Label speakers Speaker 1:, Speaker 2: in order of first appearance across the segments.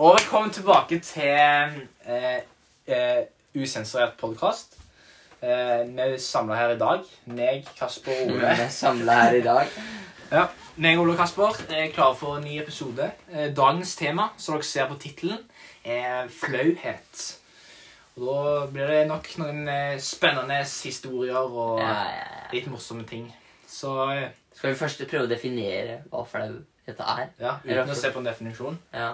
Speaker 1: Velkommen tilbake til eh, eh, Usensurert podkast. Eh, vi er samla her i dag. Meg, Kasper og
Speaker 2: Vi
Speaker 1: Ole.
Speaker 2: er samla her i dag.
Speaker 1: Meg, Ole og Kasper er klare for en ny episode. Eh, dagens tema, som dere ser på tittelen, er flauhet. Og Da blir det nok noen eh, spennende historier og
Speaker 2: Ja, ja, ja.
Speaker 1: litt morsomme ting. Så eh,
Speaker 2: Skal vi først prøve å definere hva flauhet er?
Speaker 1: ja, uten å se på en definisjon.
Speaker 2: Ja.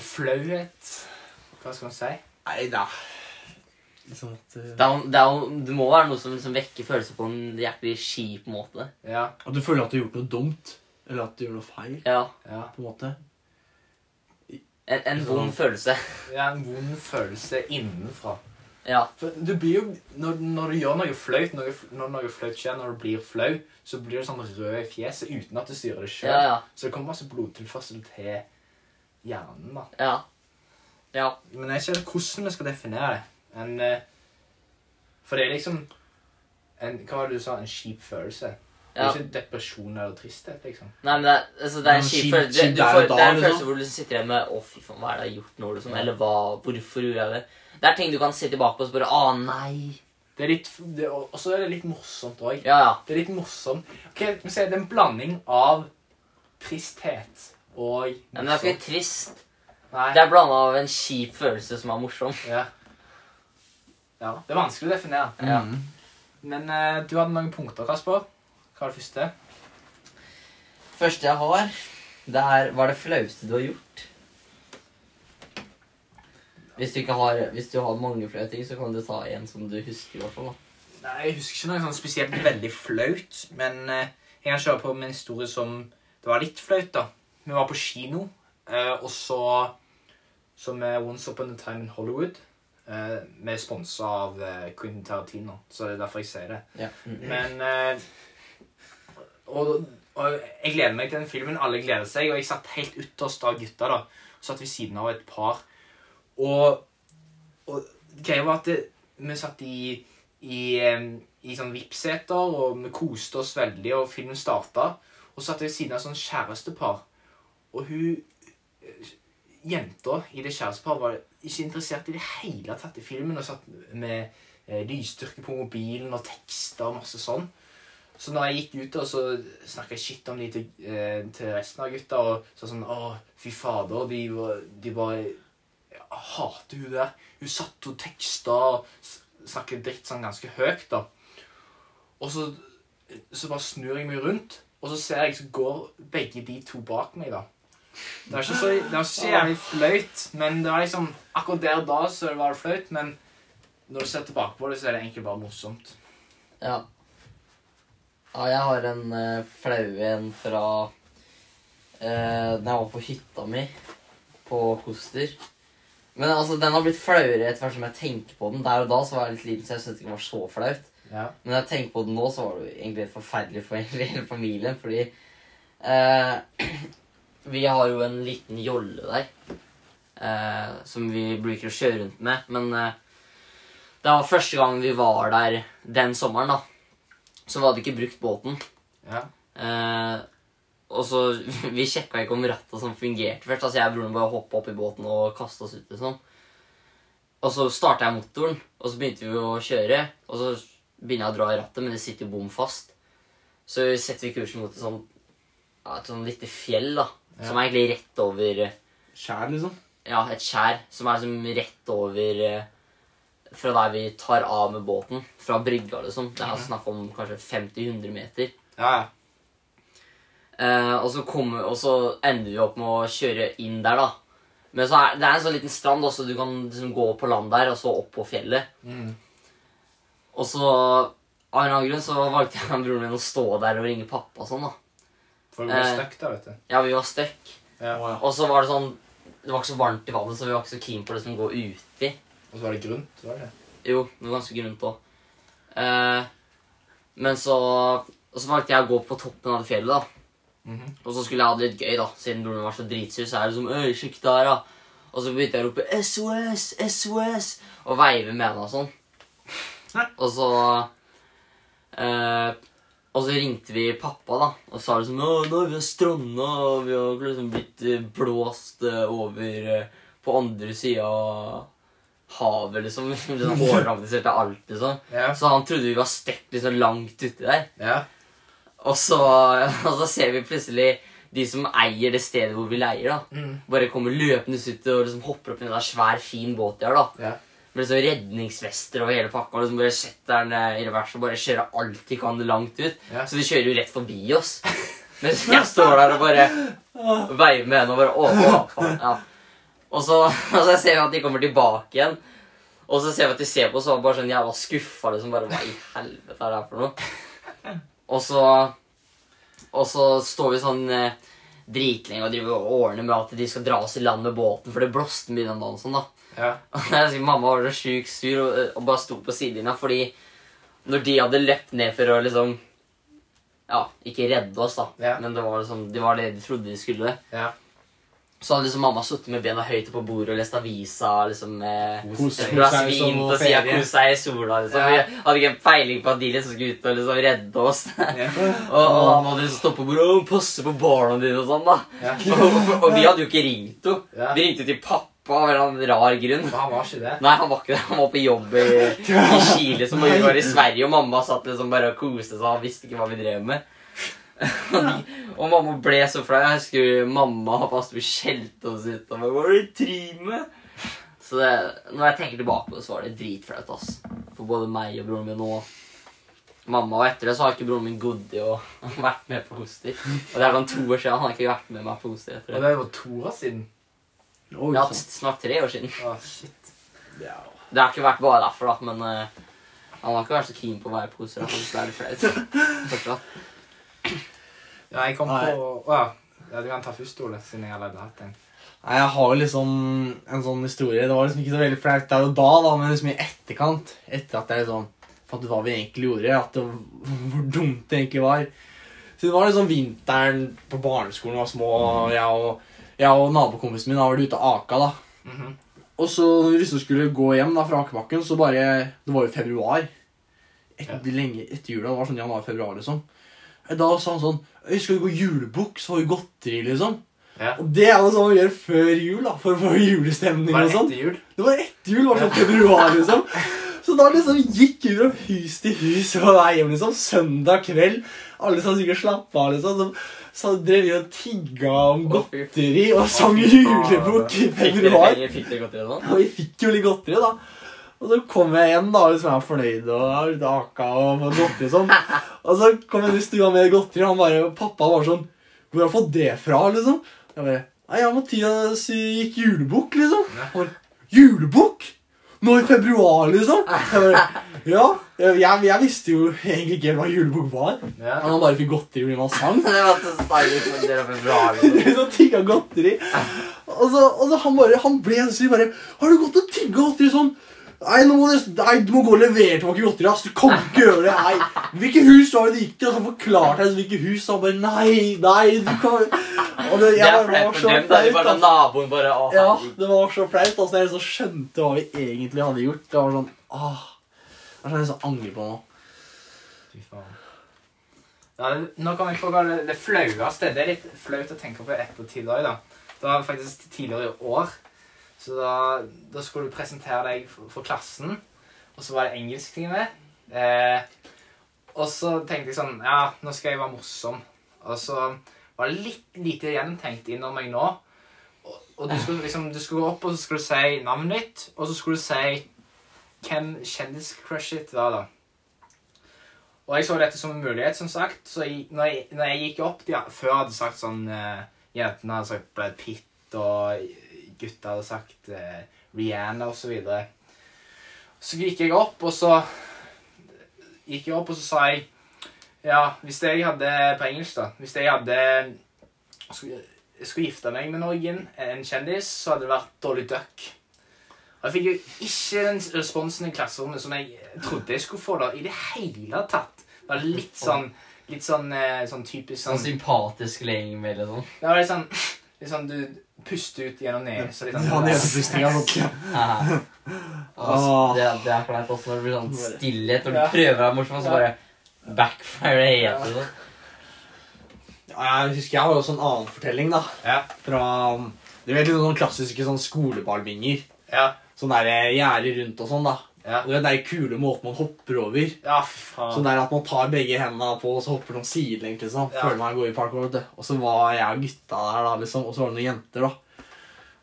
Speaker 1: Flauhet Hva skal man si?
Speaker 3: Nei da. Liksom at
Speaker 2: Det, er, jo- det, er, jo- det må være noe som, som vekker følelser på en jævlig kjip måte.
Speaker 1: Ja,
Speaker 3: eh, At du føler at du har gjort noe dumt. Eller at du gjør noe feil,
Speaker 2: Ja,
Speaker 1: ja.
Speaker 3: på en måte.
Speaker 2: En, en vond
Speaker 3: Sånn.
Speaker 2: følelse.
Speaker 1: Det er en vond følelse innenfra.
Speaker 2: Ja.
Speaker 1: For du blir jo, når, når du gjør noe flaut, noe, f- når noe flaut skjer, når du blir flau, så blir du sånn rød i fjeset uten at du styrer det sjøl.
Speaker 2: Ja, ja.
Speaker 1: Så det kommer masse blodtilførsel til hjernen. da.
Speaker 2: Ja. ja.
Speaker 1: Men jeg ser hvordan vi skal definere det. En, eh, for det er liksom en, Hva var det du sa? En kjip følelse? Det
Speaker 2: ja.
Speaker 1: er ikke depresjon eller tristhet, liksom.
Speaker 2: Nei, men det er, altså, det er en
Speaker 3: Men
Speaker 2: kjip
Speaker 3: kjip-
Speaker 2: følelse.
Speaker 3: kjip
Speaker 2: Du, du
Speaker 3: der og
Speaker 2: får,
Speaker 3: da,
Speaker 2: det er en
Speaker 3: liksom.
Speaker 2: følelse hvor du sitter igjen med Å, fy faen, hva er det jeg har gjort nå? Liksom? Eller hva, hvorfor gjorde jeg det? Det er ting du kan se tilbake på og spørre Å, nei.
Speaker 1: Det er litt, det, og så er det litt morsomt òg.
Speaker 2: Ja, ja.
Speaker 1: Det er litt morsomt. Ok, vi ser, Det er en blanding av tristhet og
Speaker 2: Ja, Men det er ikke trist.
Speaker 1: Nei.
Speaker 2: Det er blanda av en kjip følelse som er morsom.
Speaker 1: Ja. ja. Det er vanskelig å definere.
Speaker 2: Ja.
Speaker 3: Mhm.
Speaker 1: Men eh, du hadde noen punkter, Kasper. Hva er det første?
Speaker 4: Første jeg har, det er Hva er det flaueste du har gjort? Hvis du, ikke har, hvis du har mange flaue ting, så kan du ta en som du husker. i hvert fall. da.
Speaker 1: Nei, Jeg husker ikke noe sånn spesielt veldig flaut. Men eh, jeg kan kjøre på med en historie som det var litt flaut, da. Vi var på kino, eh, og så Som er Once Upon a Time in Hollywood. Eh, vi er sponsa av eh, Quentin Tarantino, så det er derfor jeg sier det.
Speaker 4: Ja. Mm.
Speaker 1: Men eh, og, og jeg gleder meg til den filmen. Alle gleder seg. Og jeg satt helt ytterst av gutta. da Satt ved siden av et par. Og, og greia var at det, vi satt i, i, em, i sånn VIP-seter, og vi koste oss veldig, og filmen starta. Og så satt jeg ved siden av et sånn kjærestepar. Og hun eh, jenta i det kjæresteparet var ikke interessert i det hele tatt i filmen. Og satt med eh, lysstyrke på mobilen og tekster og masse sånn. Så når jeg gikk ut, og så snakka jeg shit om de til, eh, til resten av gutta. Og sa sånn Å, fy fader, de, var- de bare Jeg hater hun der. Hun satt og teksta og s- snakket dritt sånn ganske høyt, da. Og så, så bare snur jeg meg rundt, og så ser jeg så går begge de to bak meg, da. Det var ikke så, det var ikke så jævlig flaut, men det var liksom Akkurat der og da så var det flaut, men når du ser tilbake på det, så er det egentlig bare morsomt.
Speaker 4: Ja. ja, jeg har en eh, flau en fra eh, da jeg var på hytta mi på Koster. Men altså, den har blitt flauere etter hvert som jeg tenker på den. Der og da så var jeg litt liten, så jeg syntes ikke det var så flaut.
Speaker 1: Ja.
Speaker 4: Men når jeg tenker på det nå, så var det jo egentlig helt forferdelig for hele- hele familien, fordi eh,
Speaker 2: Vi har jo en liten jolle der eh, som vi bruker å kjøre rundt med. Men eh, det var første gang vi var der den sommeren, da. Så vi hadde ikke brukt båten.
Speaker 1: Ja.
Speaker 2: Eh, og så Vi sjekka ikke om ratta som fungerte først. Altså Jeg og broren bare hoppa opp i båten og kasta oss ut. liksom Og så starta jeg motoren, og så begynte vi å kjøre. Og så begynner jeg å dra i rattet, men det sitter jo bom fast. Så setter vi kursen mot et sånt, ja, et sånt lite fjell, da.
Speaker 1: Ja.
Speaker 2: Som er egentlig rett over eh,
Speaker 3: Skjær, liksom.
Speaker 2: Ja, et skjær. Som er liksom rett over eh, fra der vi tar av med båten. Fra brygga, liksom. Det er snakk om kanskje 50-100 meter.
Speaker 1: ja.
Speaker 2: Eh, og, så kommer, og så ender vi opp med å kjøre inn der, da. Men så er, det er en sånn liten strand, da, så du kan liksom gå på land der, og så opp på fjellet.
Speaker 1: Mm.
Speaker 2: Og så av en eller annen grunn så valgte jeg og broren min å stå der og ringe pappa og sånn, da.
Speaker 1: For det blir
Speaker 2: Eh.
Speaker 1: stuck der, vet du.
Speaker 2: Ja, vi var stuck.
Speaker 1: Ja.
Speaker 3: Å, ja.
Speaker 2: Og så var det sånn Det var ikke så varmt i vannet, så vi var ikke så keen på å liksom gå uti.
Speaker 1: Og så var det grunt. var det det?
Speaker 2: Jo, det var ganske grunt òg. men så Og så valgte jeg å gå på toppen av det fjellet, da.
Speaker 1: Mhm.
Speaker 2: Og så skulle jeg ha det litt gøy, da. Siden broren min var så dritsur, så er det liksom Øy, sjekk der, da. Og så begynte jeg å rope SOS, SOS, og veive med henne og sånn. Og så eh, Og så ringte vi pappa da, og sa liksom Å, nå har vi stranda, og vi har liksom blitt eh, blåst eh, over eh, på andre sida av havet, liksom. liksom Hårdramatiserte alt, liksom.
Speaker 1: Ja.
Speaker 2: Så han trodde vi var stekt liksom langt uti der.
Speaker 1: ja.
Speaker 2: Og så, og så ser vi plutselig de som eier det stedet hvor vi leier, da,
Speaker 1: Mm.
Speaker 2: bare kommer løpende ut og liksom hopper opp i en sånn svær, fin båt de har. da.
Speaker 1: ja.
Speaker 2: Med liksom redningsvester og hele pakka. og liksom Bare setter den eh, i revers og bare kjører alt de kan langt ut.
Speaker 1: Ja.
Speaker 2: Så de kjører jo rett forbi oss. Mens jeg står der og bare veier med henne og bare Å, å, faen. Ja. Og så, og så ser vi at de kommer tilbake igjen. Og så ser vi at de ser på oss og er bare sånn jævla skuffa. Liksom bare Hva i helvete er det her for noe? Og så Og så står vi sånn eh, dritlenge og driver og ordner med at de skal dra oss i land med båten, for det blåste mye den dagen. sånn da.
Speaker 1: ja.
Speaker 2: Og jeg husker sånn, Mamma var så sjukt sur og, eh, og bare sto på sidelinja fordi når de hadde løpt ned for å liksom Ja, ikke redde oss, da,
Speaker 1: Ja.
Speaker 2: men det var liksom, det var det de trodde de skulle.
Speaker 1: Ja.
Speaker 2: Så hadde liksom mamma sittet med bena høyt opp på bordet og lest avisa liksom med
Speaker 3: Kos
Speaker 2: et
Speaker 3: deg
Speaker 2: glass
Speaker 1: som
Speaker 2: vin
Speaker 1: å
Speaker 2: på sida,
Speaker 1: ferie.
Speaker 2: kos seg i sola. liksom.
Speaker 1: Ja.
Speaker 2: Vi hadde ikke peiling på at de liksom skulle ut og liksom redde oss.
Speaker 1: Ja.
Speaker 2: og, og han hadde liksom stått på bordet og passe på barna dine og sånn, da.
Speaker 1: Ja.
Speaker 2: og, og vi hadde jo ikke ringt henne.
Speaker 1: Ja.
Speaker 2: Vi ringte til pappa av en eller annen rar grunn.
Speaker 1: Men han var ikke det.
Speaker 2: Nei, han var ikke det. Han var på jobb i, i Chile, som vi var i Sverige, og mamma satt liksom bare og koste seg. Han visste ikke hva vi drev med. Og de- og mamma ble så flau. Jeg husker mamma og pappa sto og skjelte oss ut. Og bare, hva er det du driver med? Så det, når jeg tenker tilbake på det, så var det dritflaut. ass. For både meg og broren min og mamma. Og etter det så har ikke broren min gått i å vært med på Hoster. Og det er sånn to år siden. Han har ikke vært med meg på Hoster etter
Speaker 1: Og
Speaker 2: det.
Speaker 1: det var to år siden.
Speaker 3: Oi,
Speaker 2: Ja,
Speaker 3: sant.
Speaker 2: snart tre år siden.
Speaker 1: Å, shit.
Speaker 3: Ja.
Speaker 2: Det har ikke vært bare derfor, da, men eh, han har ikke vært så keen på å være poser. Han synes det er litt flaut. Fortsatt.
Speaker 1: Ja, jeg kom
Speaker 3: Nei.
Speaker 1: på Å ja. ja. Du kan ta først, Ole, siden jeg allerede har hatt en.
Speaker 3: Nei, jeg har jo liksom en sånn historie. Det var liksom ikke så veldig flaut der og da, da, men liksom i etterkant. Etter at jeg liksom fant ut hva vi egentlig gjorde, at det, hvor dumt det egentlig var. Så det var liksom vinteren på barneskolen var små, og jeg og, jeg og nabokompisen min da var ute og aka, da.
Speaker 1: Mhm.
Speaker 3: Og så når vi liksom skulle gå hjem da fra akebakken, så bare Det var jo februar. Et,
Speaker 1: Ja.
Speaker 3: Lenge etter jula. Det var sånn januar-februar, liksom. Da sa han sånn «Øy, Skal vi gå julebukk, så har vi godteri, liksom.
Speaker 1: Ja.
Speaker 3: Og det er jo sånn man gjør før jul, da, for å få julestemning
Speaker 1: Var
Speaker 3: og
Speaker 1: det
Speaker 3: sånn.
Speaker 1: etter jul?
Speaker 3: Det var etter jul, var sånn februar, liksom. Så da liksom gikk vi fra hus til hus på vei hjem, liksom. Søndag kveld. Alle som sikkert slapp av, liksom. Så, så drev vi og tigga om
Speaker 2: Å, fy
Speaker 3: godteri og sang
Speaker 1: fy
Speaker 3: julebukk i
Speaker 2: Fikk dere
Speaker 3: februar.
Speaker 2: penger? Fikk dere godteri og sånn?
Speaker 3: Og vi fikk jo litt godteri, da. Og så kom jeg hjem da, og liksom jeg var fornøyd og jeg var ute og aka og fått godteri og sånn. Og så kom jeg inn i stua med godteri, og han bare, og pappa var sånn Hvor har du fått det fra, liksom? Jeg bare Nei, jeg og Mathias gikk julebukk, liksom. Han bare, Julebukk? Nå i februar, liksom? Jeg bare, ja, jeg, jeg visste jo egentlig ikke helt hva julebukk var.
Speaker 1: Ja.
Speaker 3: Men han bare fikk godteri fordi han sang.
Speaker 2: Det var så stylish men dere var bra, liksom.
Speaker 3: Så tigga sånn godteri. Og så, og så han bare, han ble så syk, bare 'Har du gått og tigga godteri sånn?' Nei, nå må du, nei, du må gå og levere tilbake godteri. ass. Du kan ikke gjøre det. Nei. Hvilke hus var det du gikk til? Og så forklarte jeg hvilke hus. Og han bare Nei, nei, du kan Og det,
Speaker 2: Det
Speaker 3: jeg
Speaker 2: er
Speaker 3: bare
Speaker 2: flaut
Speaker 3: var
Speaker 2: for
Speaker 3: så
Speaker 2: dem. da. De bare
Speaker 3: ass.
Speaker 2: Naboen bare å,
Speaker 3: Ja,
Speaker 2: herregud.
Speaker 3: det var så flaut. Altså, når jeg så skjønte hva vi egentlig hadde gjort. Det var sånn ah, Det er sånn jeg så angrer på nå.
Speaker 1: Fy faen. Ja, det- nå kom jeg på hva det, det flaueste Det er litt flaut å tenke på ettertid òg, da. Det var faktisk tidligere i år. Så da, da skulle du presentere deg for, for klassen, og så var det engelsktime. Eh, og så tenkte jeg sånn Ja, nå skal jeg være morsom. Og så var det litt lite gjennomtenkt innom meg nå. Og, og du skulle liksom Du skulle gå opp, og så skulle du si navnet ditt, og så skulle du si hvem kjendiscrushet ditt var, da. Og jeg så dette som en mulighet, som sagt. Så jeg, når, jeg, når jeg gikk opp de, Før hadde jeg sagt sånn eh, Jentene hadde sagt Brad Pitt, og gutta hadde sagt eh, Rihanna, og så videre. Så gikk jeg opp, og så gikk jeg opp, og så sa jeg Ja, hvis jeg hadde På engelsk, da. Hvis jeg hadde skulle, skulle gifte meg med noen, en kjendis, så hadde det vært Dolly Duck. Og jeg fikk jo ikke den responsen i klasserommet som jeg trodde jeg skulle få da, i det hele tatt. Det var litt sånn, litt sånn, eh, sånn typisk
Speaker 2: Sånn
Speaker 1: sånn
Speaker 2: sympatisk leng med, liksom.
Speaker 1: det var litt sånn, litt sånn Du puster ut gjennom nesa. Litt
Speaker 3: Ja,
Speaker 1: sånn,
Speaker 3: nesepustinga sånn.
Speaker 2: Haha. Altså, Og
Speaker 3: Åh.
Speaker 2: Det, det er flaut også når det blir sånn stillhet, når du
Speaker 1: Ja.
Speaker 2: prøver å være morsom, og så
Speaker 1: Ja.
Speaker 2: bare liksom.
Speaker 4: Backfire, det heter det.
Speaker 3: Ja, Jeg husker jeg har også en annen fortelling, da.
Speaker 1: Ja.
Speaker 3: Fra Du vet litt sånn klassiske sånn skoleballbinger.
Speaker 1: Ja.
Speaker 3: Sånn derre gjerder rundt og sånn, da.
Speaker 1: Ja.
Speaker 3: Du vet, Den kule måten man hopper over.
Speaker 1: Ja, fy faen.
Speaker 3: Sånn der at man tar begge hendene på, og så hopper noen sidelengs, liksom.
Speaker 1: Ja.
Speaker 3: Føler meg god i parkour, vet du. Og så var jeg og gutta der, da, liksom. Og så var det noen jenter, da.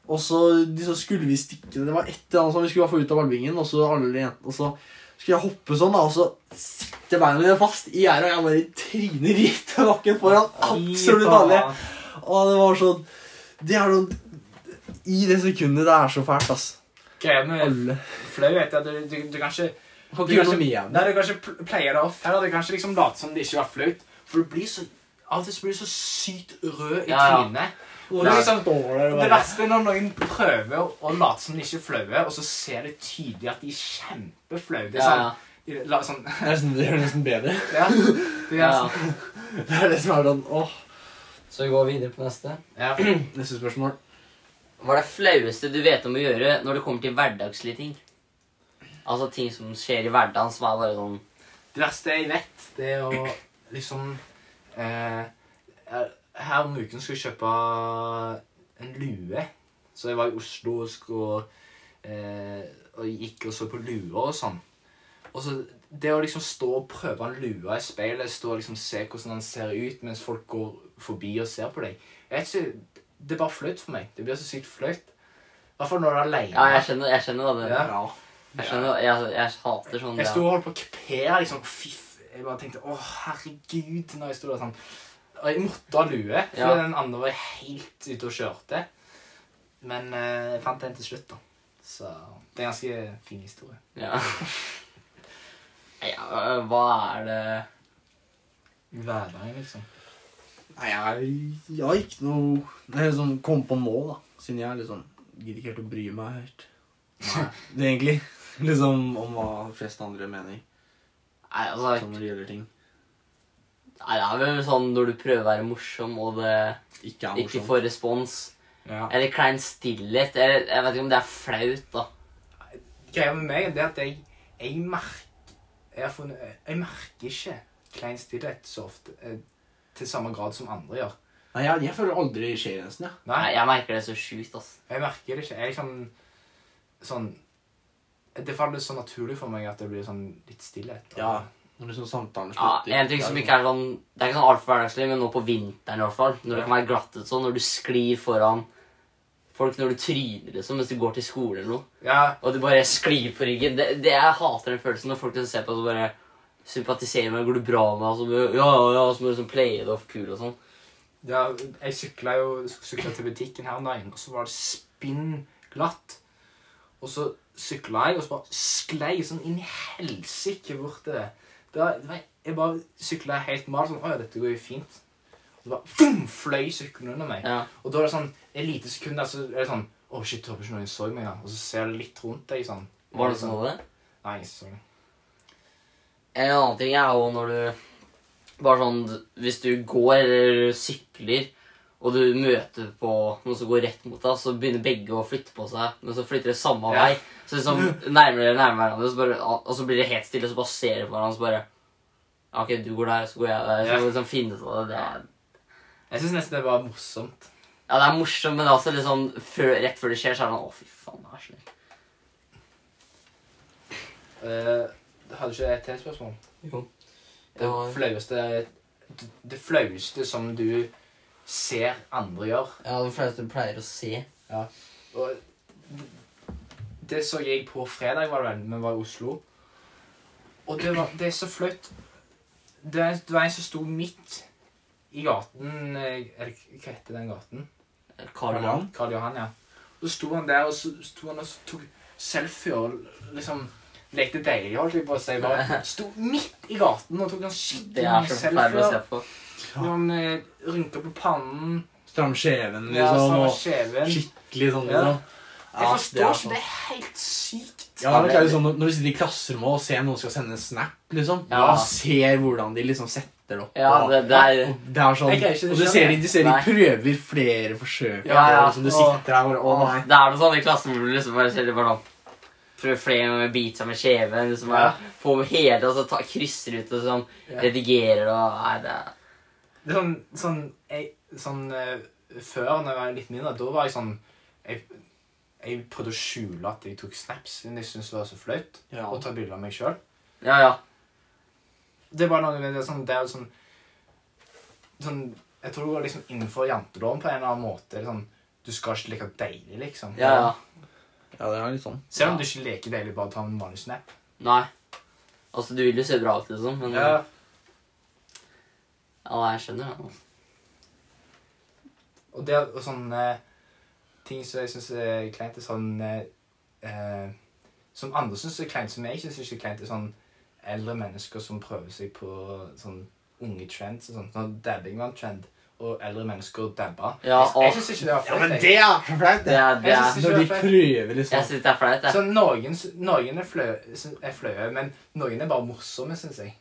Speaker 3: Og så, de, så skulle vi stikke Det var et eller annet som vi skulle få ut av ballbingen, og så alle jentene Og så skulle jeg hoppe sånn, da, og så sitter beina mine fast i gjerdet, og jeg bare triner i bakken foran absolutt alle. Og det var sånn Det er noen I det sekundet det er så fælt, ass.
Speaker 1: Greia med
Speaker 3: Alle.
Speaker 1: flauhet er at du, du, du kan ikke
Speaker 3: Kan
Speaker 1: Du
Speaker 3: ikke gjøre
Speaker 1: kanskje-
Speaker 3: noe med det.
Speaker 1: Nei, du kan ikke pl- pleie deg off heller. Du kan ikke liksom late som det ikke var flaut. For du blir så Av og til så blir du så sykt rød i
Speaker 2: Ja, ja.
Speaker 1: trynet.
Speaker 3: Og
Speaker 1: det er
Speaker 3: liksom-
Speaker 1: Det verste er når noen prøver å- å late som de ikke er flaue, og så ser du tydelig at de er kjempeflaue. Det er
Speaker 2: Ja,
Speaker 1: sånn,
Speaker 2: ja.
Speaker 1: de la- sånn
Speaker 3: Det er nesten- det gjør det nesten bedre.
Speaker 1: Ja. Det
Speaker 2: ja,
Speaker 1: er
Speaker 2: ja.
Speaker 1: sånn.
Speaker 3: Det er det som er sånn Åh.
Speaker 4: Så vi går videre på neste.
Speaker 1: Ja.
Speaker 3: Neste spørsmål.
Speaker 2: Hva er det flaueste du vet om å gjøre når det kommer til hverdagslige ting? Altså ting som skjer i hverdagen som er bare sånn
Speaker 1: Det verste jeg vet, det er å liksom eh, Her om uken skulle jeg kjøpe en lue. Så jeg var i Oslo og, skulle, eh, og gikk og så på luer og sånn. Og så Det å liksom stå og prøve en lue i speilet, stå og liksom se hvordan den ser ut mens folk går forbi og ser på deg Jeg vet ikke, Det er bare flaut for meg. Det blir så sykt flaut. I hvert fall når du er aleine.
Speaker 2: Ja, jeg skjønner, jeg skjønner hva det
Speaker 1: Ja.
Speaker 3: Ja.
Speaker 2: Jeg skjønner, jeg, jeg hater sånn
Speaker 1: Jeg
Speaker 2: ja.
Speaker 1: sto og holdt på å kupere, liksom. Fy, f- jeg bare tenkte å, herregud, når jeg sto der sånn. Og jeg måtte ha lue, for
Speaker 2: Ja.
Speaker 1: den andre var helt ute og kjørte. Men eh, jeg fant den til slutt, da. Så det er en ganske fin historie.
Speaker 2: Ja. ja, hva er det
Speaker 1: I Hverdagen, liksom.
Speaker 3: Nei, jeg, jeg har ikke noe Det er sånn kom på nå, da. Siden jeg liksom gidder ikke helt å bry meg helt. Det er egentlig liksom om hva flest andre mener
Speaker 2: Nei, altså,
Speaker 3: sånn når det gjelder ting.
Speaker 2: nei, det er vel sånn når du prøver å være morsom, og det
Speaker 3: Ikke er
Speaker 2: ikke
Speaker 3: morsomt.
Speaker 2: får respons.
Speaker 1: Ja.
Speaker 2: Eller klein stillhet. Eller, jeg vet ikke om det er flaut, da.
Speaker 1: Greia med meg det er at jeg, jeg merker jeg, har funnet, jeg merker ikke klein stillhet så ofte. eh, Til samme grad som andre gjør.
Speaker 3: Nei, jeg, jeg føler aldri skjer nesten, jeg.
Speaker 1: Nei,
Speaker 2: Nei, jeg merker det så sjukt, ass.
Speaker 1: Jeg merker det ikke. Jeg er sånn, sånn Det faller så naturlig for meg at det blir sånn litt stillhet.
Speaker 3: Ja. Når liksom samtalen
Speaker 2: Ja,
Speaker 3: slutter.
Speaker 2: en ting som ikke er sånn Det er ikke sånn altfor hverdagslig, men nå på vinteren i hvert fall. Når det kan være glatt ut sånn, når du sklir foran folk når du tryner, liksom, mens du går til skole eller noe.
Speaker 1: Ja,
Speaker 2: Og du bare sklir på ryggen. Det, det Jeg hater den følelsen når folk liksom ser på og så bare sympatiserer med Går det bra med deg? Og så bare, Ja, ja, ja, og så må du liksom playe det off cool og sånn.
Speaker 1: ja jeg sykla jo syklet til butikken her om dagen, og så var det spinn glatt. Og så sykla jeg, og så bare sklei jeg sånn inn i helsike bortover. Det var, det var, jeg bare sykla helt mal sånn Å ja, dette går jo fint. Og så bare boom, fløy sykkelen under meg.
Speaker 2: Ja.
Speaker 1: Og da er det sånn Et lite sekund der, så er det sånn Å, shit, jeg håper ikke noen så meg, da. Og så ser du litt rundt deg sånn.
Speaker 2: Var det sånn det?
Speaker 1: Nei, ingen så det.
Speaker 2: En annen ting er jo når du Bare sånn Hvis du går eller sykler, og du møter på noen som går rett mot deg, så begynner begge å flytte på seg, men så flytter de samme
Speaker 1: Ja.
Speaker 2: vei. Så liksom nærmere og nærmere hverandre, så bare, og så blir det helt stille, og så bare ser de på hverandre, og så bare «Ja, OK, du går der, så går jeg der. Så
Speaker 1: Ja.
Speaker 2: må du liksom finne ut av det. Det er,
Speaker 1: Jeg syns nesten det var morsomt.
Speaker 2: ja, det er morsomt, men altså liksom før, rett før det skjer, så er det sånn Å, fy faen, det er så lett.
Speaker 1: Eh, hadde ikke jeg et til spørsmål? Det
Speaker 4: Jeg har,
Speaker 1: flaueste Det flaueste som du ser andre gjøre.
Speaker 4: ja, det fleste du pleier å se.
Speaker 1: Og det så jeg på fredag, var det vel, vi var i Oslo. Og det, var, det er så flaut. Det, er- det var en som sto midt i gaten eh, Eller hva heter den gaten?
Speaker 2: Karl
Speaker 3: Johan?
Speaker 2: Johan.
Speaker 1: Karl Johan, ja. Og så sto han der, og så sto han og så tok selfie og liksom lekte deilig, holdt jeg på å si. Bare sto midt i gaten og tok en
Speaker 2: Det
Speaker 1: skikkelig
Speaker 2: er
Speaker 1: mange
Speaker 2: så forferdelig å
Speaker 1: selfier.
Speaker 2: se på.
Speaker 1: Han eh, rynka på pannen,
Speaker 3: Stram skjeven,
Speaker 1: ja, så
Speaker 3: liksom.
Speaker 1: han var
Speaker 3: og
Speaker 1: skjeven.
Speaker 3: skikkelig sånn,
Speaker 1: Ja.
Speaker 3: liksom.
Speaker 1: Jeg
Speaker 3: Ja,
Speaker 1: forstår
Speaker 3: det er
Speaker 1: ikke,
Speaker 3: sånn.
Speaker 1: det er helt sykt.
Speaker 3: Ja, det er liksom, Når du sitter i klasserommet og ser noen skal sende en snap, liksom.
Speaker 2: Ja.
Speaker 3: Og ser hvordan de liksom setter det opp.
Speaker 2: Ja,
Speaker 3: og-
Speaker 2: det, det er
Speaker 3: Og Det er sånn,
Speaker 1: Jeg greier ikke det
Speaker 3: og du
Speaker 1: selv,
Speaker 3: ser, de,
Speaker 1: jeg.
Speaker 3: du ser de
Speaker 2: Nei.
Speaker 3: prøver flere forsøk.
Speaker 2: Ja, ja,
Speaker 3: Som du
Speaker 1: og-
Speaker 3: sitter der og bare, å nei.
Speaker 2: Det er noe sånn i klassen hvor du liksom bare ser det bare sånn prøve flere ganger å bite seg med kjeven. Liksom,
Speaker 1: Ja.
Speaker 2: bare Få med hele, altså, ta, krysser ut og sånn.
Speaker 1: Ja.
Speaker 2: Redigerer og Nei, det er
Speaker 1: Det er sånn, sånn, jeg, sånn eh, Før, når jeg var litt mindre, da var jeg sånn Jeg, jeg prøvde å skjule at jeg tok snaps, siden jeg syntes det var så flaut
Speaker 3: Ja.
Speaker 1: å ta bilder av meg sjøl.
Speaker 2: Ja, ja.
Speaker 1: Det er bare noe med det sånn, det er jo sånn, sånn Jeg tror det går liksom innenfor janteloven på en eller annen måte. Det er sånn, du skal ikke leke deilig, liksom.
Speaker 2: ja, ja.
Speaker 3: Ja, det er litt sånn.
Speaker 1: Selv om du ikke leker deilig, bare ta en vanlig snap.
Speaker 2: Nei. Altså, du vil jo se bra ut, liksom, men ja. nei, jeg skjønner det. Altså.
Speaker 1: Og det er og sånn eh, ting som jeg syns er kleint, er sånn eh, eh, Som andre syns er kleint, som jeg syns ikke er kleint, er sånn eldre mennesker som prøver seg på sånn unge trends og sånn. Sånn dabbing var en trend, og eldre mennesker dabba.
Speaker 2: Ja,
Speaker 1: Jeg-
Speaker 2: og
Speaker 1: jeg syns ikke det var
Speaker 3: Ja, men
Speaker 1: flaut. jeg.
Speaker 3: det er flaut,
Speaker 2: det
Speaker 3: det.
Speaker 2: er, det
Speaker 1: Jeg
Speaker 2: er
Speaker 1: synes-
Speaker 3: Når de prøver,
Speaker 2: Jeg
Speaker 3: liksom.
Speaker 2: syns det er flaut, jeg.
Speaker 1: Så noen, s- noen er flø- syn- er flaue, men noen er bare morsomme, syns jeg.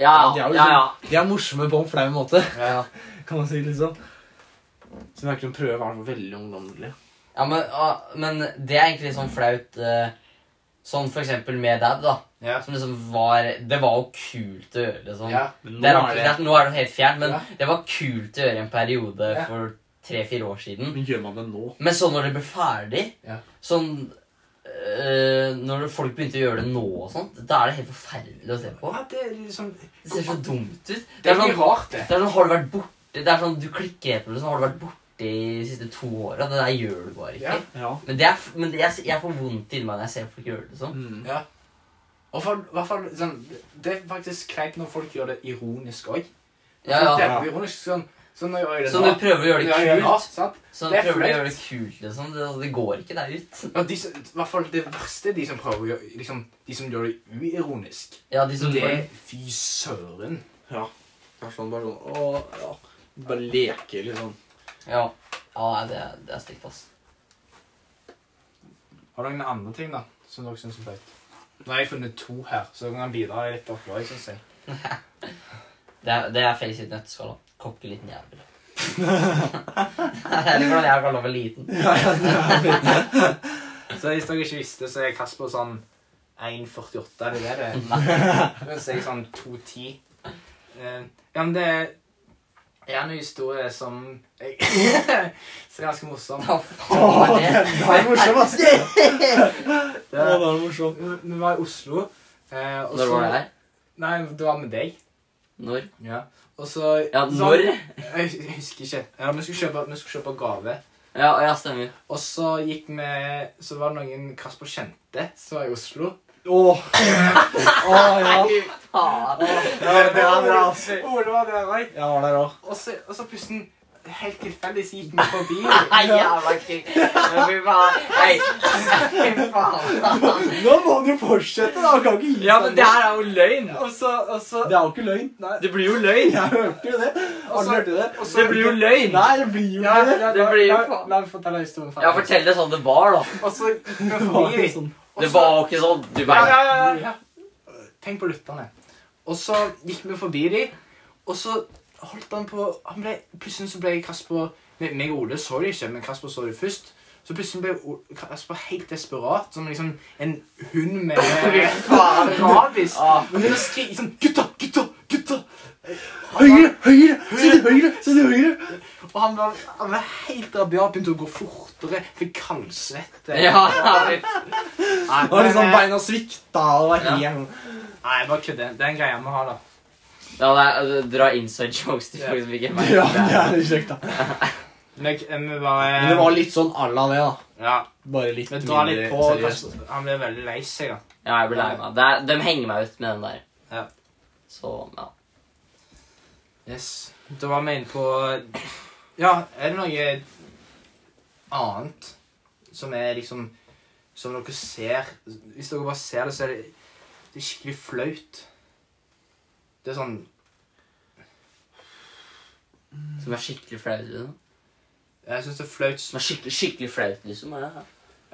Speaker 2: Ja,
Speaker 3: de
Speaker 2: ja,
Speaker 3: er jo sånn-
Speaker 2: ja. ja.
Speaker 3: De er morsomme på en flau måte,
Speaker 1: Ja.
Speaker 3: kan man si, liksom. Som virkelig prøver å være så veldig ungdommelig.
Speaker 4: Ja, men, ah, men det er egentlig sånn flaut eh, Sånn for eksempel med dad, da.
Speaker 1: Ja.
Speaker 4: Som liksom var Det var jo kult å gjøre, liksom.
Speaker 1: Ja.
Speaker 3: Men
Speaker 4: Det er rart, det er, nå er det helt fjernt, men
Speaker 1: Ja.
Speaker 4: det var kult å gjøre i en periode
Speaker 1: Ja.
Speaker 4: for tre-fire år siden.
Speaker 3: Men gjør man det nå?
Speaker 4: Men så når det ble ferdig
Speaker 1: Ja.
Speaker 4: Sånn øh, Når folk begynte å gjøre det nå og sånt, da er det helt forferdelig å se på.
Speaker 1: Ja, det er liksom
Speaker 4: Det ser så dumt ut.
Speaker 1: Det er mye rart, det.
Speaker 4: det er sånn, har du vært borte Det er sånn, du klikker etter det, sånn, har du vært borte de siste to åra? Det der gjør du bare ikke.
Speaker 1: Ja.
Speaker 3: Ja.
Speaker 4: Men, det er, f- men det, jeg, jeg får vondt inni meg når jeg ser folk gjøre det sånn.
Speaker 3: Mm.
Speaker 1: Ja. Og for, hvert fall, sånn, det er faktisk kleint når folk gjør det ironisk òg.
Speaker 4: Ja,
Speaker 1: Det
Speaker 4: ja.
Speaker 1: er ironisk sånn, sånn når jeg gjør det
Speaker 4: Så når du prøver å gjøre
Speaker 1: Når jeg gjør
Speaker 4: det
Speaker 1: det nå,
Speaker 4: kult,
Speaker 1: sant?
Speaker 4: så
Speaker 1: Det
Speaker 4: når
Speaker 1: er
Speaker 4: du prøver å
Speaker 1: flaut.
Speaker 4: gjøre det kult liksom, det, det går ikke der ut.
Speaker 1: Og de, som- i hvert fall det verste er de som prøver å gjøre liksom, De som gjør det uironisk.
Speaker 4: Ja, de som
Speaker 1: Det Fy søren.
Speaker 3: ja. Det er sånn, bare sånn å, ja. Bare leke, liksom.
Speaker 4: Ja, ja nei, det, er- det er stygt, ass.
Speaker 1: Har dere noen andre ting da, som dere syns er flaut? Nå har jeg funnet to her, så dere kan bidra i litt oppdrag. Synes jeg.
Speaker 4: Det er, det er Felix sitt nøtteskall. da. Kokke liten jævel. Eller hvordan jeg kaller meg liten.
Speaker 1: Så Hvis dere ikke visste, så er Kasper sånn 1,48. Er det det det er? Mens jeg er sånn 2,10. Eh, ja, men det er er en historie som jeg som er ganske morsom.
Speaker 4: Hva faen var det?
Speaker 3: Det er morsomt, ass.
Speaker 1: Det
Speaker 3: Å,
Speaker 1: er,
Speaker 3: det er morsomt.
Speaker 1: vi var i Oslo. eh, og
Speaker 2: Når
Speaker 1: så-
Speaker 2: var det her?
Speaker 1: Nei, det var med deg.
Speaker 2: Når?
Speaker 1: Ja. Og så
Speaker 2: Ja,
Speaker 1: så-
Speaker 2: når?
Speaker 1: Jeg, jeg husker ikke. Ja, vi skulle kjøpe, vi skulle kjøpe gave.
Speaker 2: Ja, ja stemmer.
Speaker 1: Og så gikk vi Så var det noen Kasper kjente som var i Oslo.
Speaker 3: Å, å ja.
Speaker 4: Faen.
Speaker 3: Ja, det er bra, ass.
Speaker 1: Ole var der også.
Speaker 3: Jeg var der òg.
Speaker 1: Og så, og så plutselig, helt tilfeldig, så gikk vi forbi.
Speaker 4: Nei, jævla krig. Men Fy faen. Nei, fy faen.
Speaker 3: Nå må du fortsette, da. Kan ikke gi seg.
Speaker 2: her er jo løgn!
Speaker 1: Og så, og så,
Speaker 3: Det er jo ikke løgn.
Speaker 2: Det blir jo løgn!
Speaker 3: Jeg hørte jo det. Har du hørt det?
Speaker 1: og så
Speaker 2: løgn!
Speaker 3: Nei, det blir jo
Speaker 1: Ja,
Speaker 3: ikke det.
Speaker 1: ja,
Speaker 2: Det blir jo
Speaker 1: la, la,
Speaker 2: faen.
Speaker 1: la meg fortelle historien
Speaker 2: Ja, fortell det sånn det var, da.
Speaker 1: Og så gikk vi
Speaker 3: Det var
Speaker 1: forbi.
Speaker 3: ikke sånn.
Speaker 1: og
Speaker 2: Det
Speaker 1: så-
Speaker 2: var jo ikke sånn. Du
Speaker 1: ja,
Speaker 2: veit.
Speaker 1: ja, ja, ja. Tenk på lytterne. Og så gikk vi forbi de, og så holdt han på han ble, Plutselig så ble Kasper meg- Meg og Ole så det ikke, men Kasper så det først. Så plutselig ble O- Kasper helt desperat, som liksom en hund med
Speaker 4: faen.
Speaker 1: rabies.
Speaker 2: Ah.
Speaker 1: Og begynte å skrike sånn Gutta! Gutta! Gutta!
Speaker 3: Høyre, høyre, se til høyre, se til høyre.
Speaker 1: Og han var, han var helt rabiat, begynte å gå fortere, fikk kaldsvette.
Speaker 2: Ja, ja,
Speaker 1: Nei,
Speaker 3: Det var liksom
Speaker 1: men, eh,
Speaker 3: beina svikta og var helt
Speaker 1: Nei, bare kødde. Det er en greie vi har, da.
Speaker 2: nei, altså, Dra inside jokes til folk som ikke vet
Speaker 3: Ja,
Speaker 2: det.
Speaker 3: det er litt kjekt, da.
Speaker 1: Men jeg- vi bare
Speaker 3: Men det var litt sånn à la det, da.
Speaker 1: Ja.
Speaker 3: Bare litt
Speaker 1: Vi drar litt på.
Speaker 3: seriøst.
Speaker 1: Kasper. Han blir veldig lei seg, da.
Speaker 2: Ja, jeg blir lei meg. Det er- De henger meg ut med den der.
Speaker 1: Ja.
Speaker 2: Så, ja.
Speaker 1: Yes. Da var vi inne på Ja, er det noe annet som er liksom Som dere ser Hvis dere bare ser det, så er det, det er skikkelig flaut. Det er sånn
Speaker 2: Som er skikkelig flaut. Liksom.
Speaker 1: Jeg syns det er flaut
Speaker 2: Som er skikkelig, skikkelig flaut, liksom. Er det.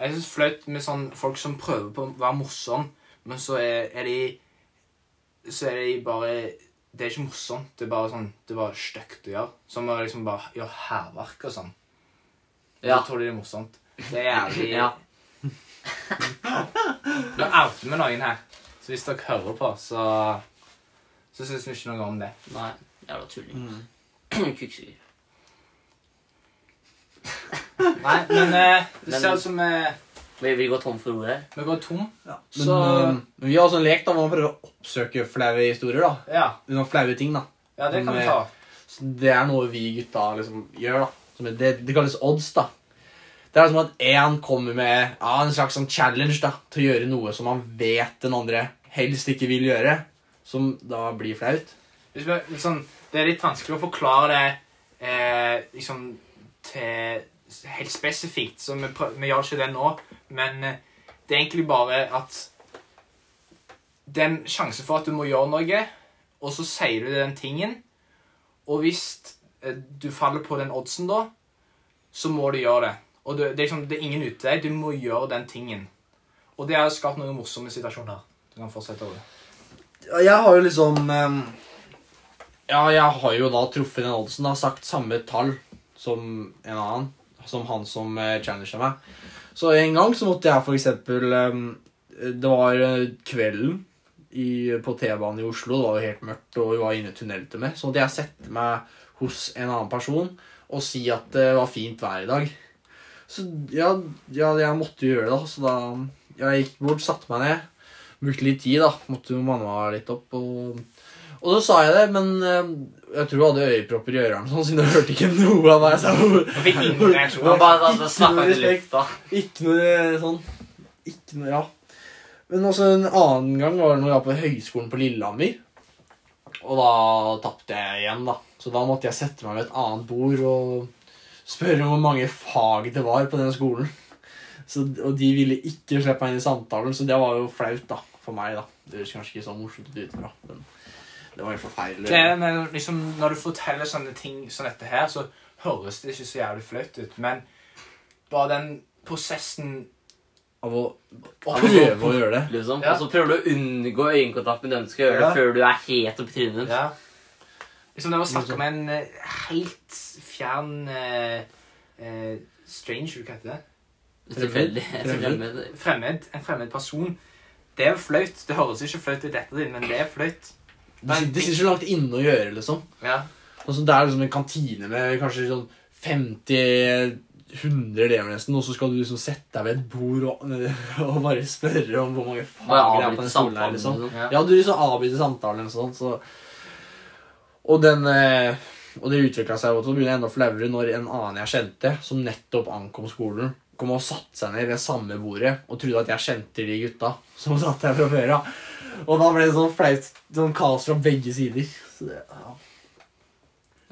Speaker 1: Jeg synes flaut med sånn folk som prøver på å være morsom, men så er, er de Så er de bare Det er ikke morsomt. Det er bare sånn Det er bare stygt å gjøre. Som å liksom bare gjøre hærverk og sånn.
Speaker 2: Ja.
Speaker 1: Så tror de det er morsomt. Det er jævlig
Speaker 2: Ja.
Speaker 1: Nå outer vi noen her. Så hvis dere hører på, så Så syns vi ikke noe om det.
Speaker 2: Nei, jævla tulling.
Speaker 3: Mm.
Speaker 2: Kukksuger.
Speaker 1: Nei, men eh, det
Speaker 2: Men-
Speaker 1: ser ut som vi,
Speaker 2: Vi, vi går tom for ord her.
Speaker 1: vi går tom.
Speaker 3: Men,
Speaker 1: Så
Speaker 3: eh, men vi har også en lek da, hvor man prøver å oppsøke flaue historier. da.
Speaker 1: ja,
Speaker 3: Noen flaue ting, da.
Speaker 1: ja, det kan vi ta.
Speaker 3: Så det er noe vi gutta liksom gjør, da. Som er, det, det kalles odds, da. Det er liksom at én kommer med ja, en slags sånn challenge da, til å gjøre noe som han vet den andre helst ikke vil gjøre. Som da blir flaut.
Speaker 1: Hvis vi, liksom, det er litt vanskelig å forklare det eh, liksom til helt spesifikt, så vi, prø- vi gjør ikke det nå. Men eh, det er egentlig bare at det er en sjanse for at du må gjøre noe, og så sier du den tingen. Og hvis eh, du faller på den oddsen, da, så må du gjøre det. Og det, det, er liksom, det er ingen utvei. Du må gjøre den tingen. Og det har skapt noen morsomme situasjoner. Du kan fortsette over det.
Speaker 3: Jeg har jo liksom ehm, Ja, jeg har jo da truffet den oddsen og sagt samme tall som en annen. Som han som uh, challenga meg. Så en gang så måtte jeg for eksempel ehm, Det var eh, kvelden i, på T-banen i Oslo. Det var jo helt mørkt, og vi var inne i tunnel til meg. Så måtte jeg sette meg hos en annen person og si at det var fint vær i dag. Så ja, ja jeg måtte jo gjøre det, da. Så da Jeg gikk bort, satte meg ned brukte litt tid, da. Måtte jo manne meg litt opp. Og, og så sa jeg det, men eh, jeg tror jeg hadde øyepropper i ørene, sånn, siden jeg hørte ikke noe av hva jeg sa.
Speaker 1: Jeg fikk ingen reaksjon.
Speaker 2: Man bare altså, snakka ut i
Speaker 3: respekt.
Speaker 2: lufta.
Speaker 3: Ikke noe sånn Ikke noe, ja. Men også en annen gang var det når jeg var på høyskolen på Lillehammer. Og da tapte jeg igjen, da. Så da måtte jeg sette meg ved et annet bord og spørre om hvor mange fag det var på den skolen. Så, og de ville ikke slippe meg inn i samtalen, så det var jo flaut da, for meg. da. Det høres kanskje ikke så morsomt ut utenfra, men det var helt forferdelig.
Speaker 1: Det er når, liksom, når du forteller sånne ting som dette her, så høres det ikke så jævlig flaut ut. Men bare den prosessen
Speaker 3: Av å
Speaker 1: å
Speaker 3: prøve å gjøre det.
Speaker 2: Liksom.
Speaker 1: Ja.
Speaker 2: Og så prøver du å unngå øyekontakt med den du skal gjøre
Speaker 1: Ja.
Speaker 2: det, før du er helt oppi trynet.
Speaker 1: ja. Liksom det var snakk om en eh, helt fjern eh, eh, Stranger, hva heter det?
Speaker 2: Tilfeldig.
Speaker 3: Fremmed.
Speaker 2: Fremmed.
Speaker 1: Fremmed. En fremmed person. Det er flaut. Det høres ikke flaut ut etter din, men det er flaut.
Speaker 3: Det sitter- det sitter så langt inne å gjøre, liksom.
Speaker 1: Ja.
Speaker 3: Sånn som det er liksom en kantine med kanskje sånn 50-100 elever nesten, og så skal du liksom sette deg ved et bord og, og bare spørre om hvor mange
Speaker 2: Bare
Speaker 3: fag det er på
Speaker 2: avbryte
Speaker 3: den skolen her,
Speaker 2: samtalen.
Speaker 3: liksom.
Speaker 2: liksom.
Speaker 1: Ja.
Speaker 3: Ja, du liksom avbryter samtalen og sånn, så Og den eh, Og det utvikla seg jo til å bli enda flauere når en annen jeg kjente, som nettopp ankom skolen, kom og satte seg ned ved samme bordet og trodde at jeg kjente de gutta som satt der fra før av. Og da ble det sånn flaut sånn kaos fra begge sider. Så det, ja.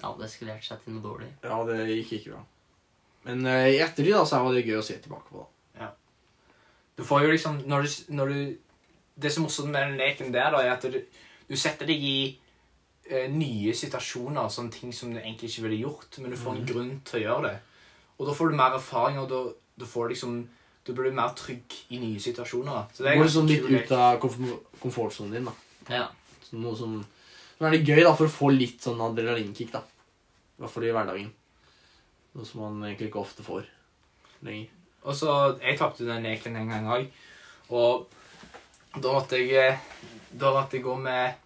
Speaker 2: Ja, det eskalerte seg til noe dårlig.
Speaker 3: Ja, det gikk ikke bra. Men eh, i ettertid da, så var det gøy å se tilbake på. da.
Speaker 1: Du får jo liksom når du, når du, Det som er morsomt med den leken der, da, er at du, du setter deg i eh, nye situasjoner, sånne ting som du egentlig ikke ville gjort, men du får
Speaker 3: Mhm.
Speaker 1: en grunn til å gjøre det. Og da får du mer erfaring, og da, da får du liksom Da blir du mer trygg i nye situasjoner. da. Så
Speaker 3: Du går liksom
Speaker 1: ganske
Speaker 3: litt
Speaker 1: kul lek.
Speaker 3: ut av komfort- komfortsonen din. da.
Speaker 2: Ja.
Speaker 3: Så Noe som, som er litt gøy da, for å få litt sånn adrenalinkick. da. I hvert fall i hverdagen. Noe som man egentlig ikke ofte får lenger.
Speaker 1: Og så, Jeg tapte den leken en gang òg. Og da måtte jeg eh, Da måtte jeg gå med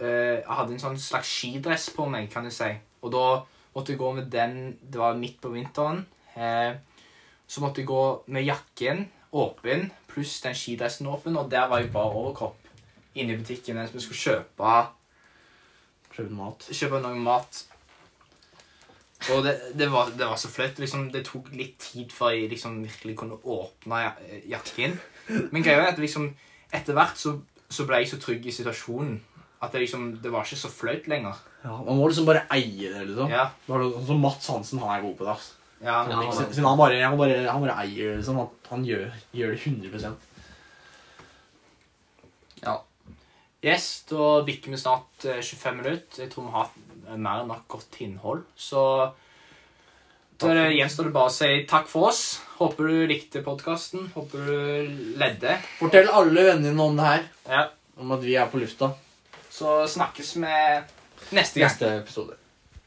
Speaker 1: eh, Jeg hadde en sånn slags skidress på meg, kan du si. Og da måtte jeg gå med den Det var midt på vinteren. eh, så måtte jeg gå med jakken åpen pluss den skidressen åpen, og der var jeg bare overkropp inne i butikken mens vi skulle kjøpe
Speaker 3: Prøvd mat.
Speaker 1: kjøpe noe mat. Og det, det, var, det var så flaut. Liksom, det tok litt tid før jeg liksom virkelig kunne åpne ja- jakken. Men greia er at liksom, etter hvert så, så ble jeg så trygg i situasjonen at det, liksom, det var ikke så flaut lenger.
Speaker 3: Ja, Man må liksom bare eie det. liksom.
Speaker 1: Ja,
Speaker 3: Bare Sånn som Mats Hansen, han er god på det. ass.
Speaker 1: ja,
Speaker 2: Ja, han er-
Speaker 3: Siden han, bare, han, bare, han bare eier det. liksom. Han, han gjør, gjør det 100
Speaker 1: Yes, da bikker vi snart eh, 25 minutter. Jeg tror vi har hatt mer enn nok godt innhold. Så da er det- gjenstår det bare å si takk for oss. Håper du likte podkasten. Håper du ledde.
Speaker 3: Fortell alle vennene dine om det her.
Speaker 1: Ja.
Speaker 3: Om at vi er på lufta.
Speaker 1: Så snakkes vi neste gang.
Speaker 3: Neste episode.